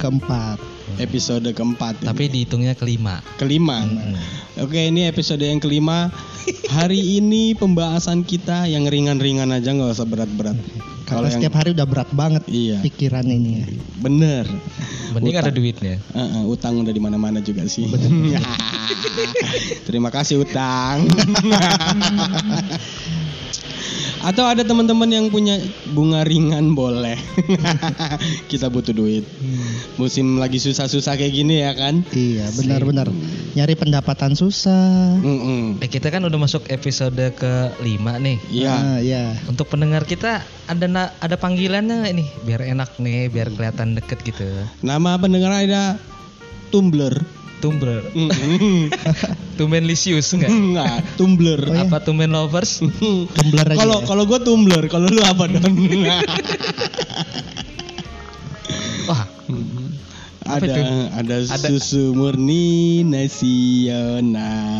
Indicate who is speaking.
Speaker 1: keempat episode keempat ini.
Speaker 2: Tapi dihitungnya kelima. Hmm.
Speaker 1: kelima oke ini episode yang kelima hari ini pembahasan kita yang ringan-ringan aja nggak usah berat-berat
Speaker 3: Karena
Speaker 1: yang-
Speaker 3: setiap hari udah berat banget
Speaker 1: iya
Speaker 3: pikiran ini ya.
Speaker 1: bener
Speaker 2: Mending
Speaker 1: Utang.
Speaker 2: ada duitnya.
Speaker 1: Heeh, utang udah di mana-mana juga sih terima kasih utang atau ada teman-teman yang punya bunga ringan boleh kita butuh duit musim lagi susah-susah kayak gini ya kan
Speaker 3: Iya, benar-benar. Nyari pendapatan susah.
Speaker 1: Mm-mm.
Speaker 2: Eh, kita kan udah masuk episode kelima nih.
Speaker 1: Iya,
Speaker 3: Ah, iya.
Speaker 2: Untuk pendengar kita ada na- ada panggilannya nggak nih? Biar enak nih, biar kelihatan deket gitu.
Speaker 1: nama pendengar ada Tumblr.
Speaker 2: Tumblr,
Speaker 1: Mm-mm.
Speaker 2: Tumen Lisius enggak?
Speaker 1: Nggak, Tumblr.
Speaker 3: Mm-hmm. Oh, iya.
Speaker 2: Apa Tumen Lovers?
Speaker 3: Tumblr aja. ya.
Speaker 1: Kalau
Speaker 3: Mm-hmm.
Speaker 1: kalau gue Tumblr, kalau lu apa Don?
Speaker 2: Wah,
Speaker 1: ada
Speaker 2: itu?
Speaker 1: ada
Speaker 2: Ada-
Speaker 1: susu murni nasional.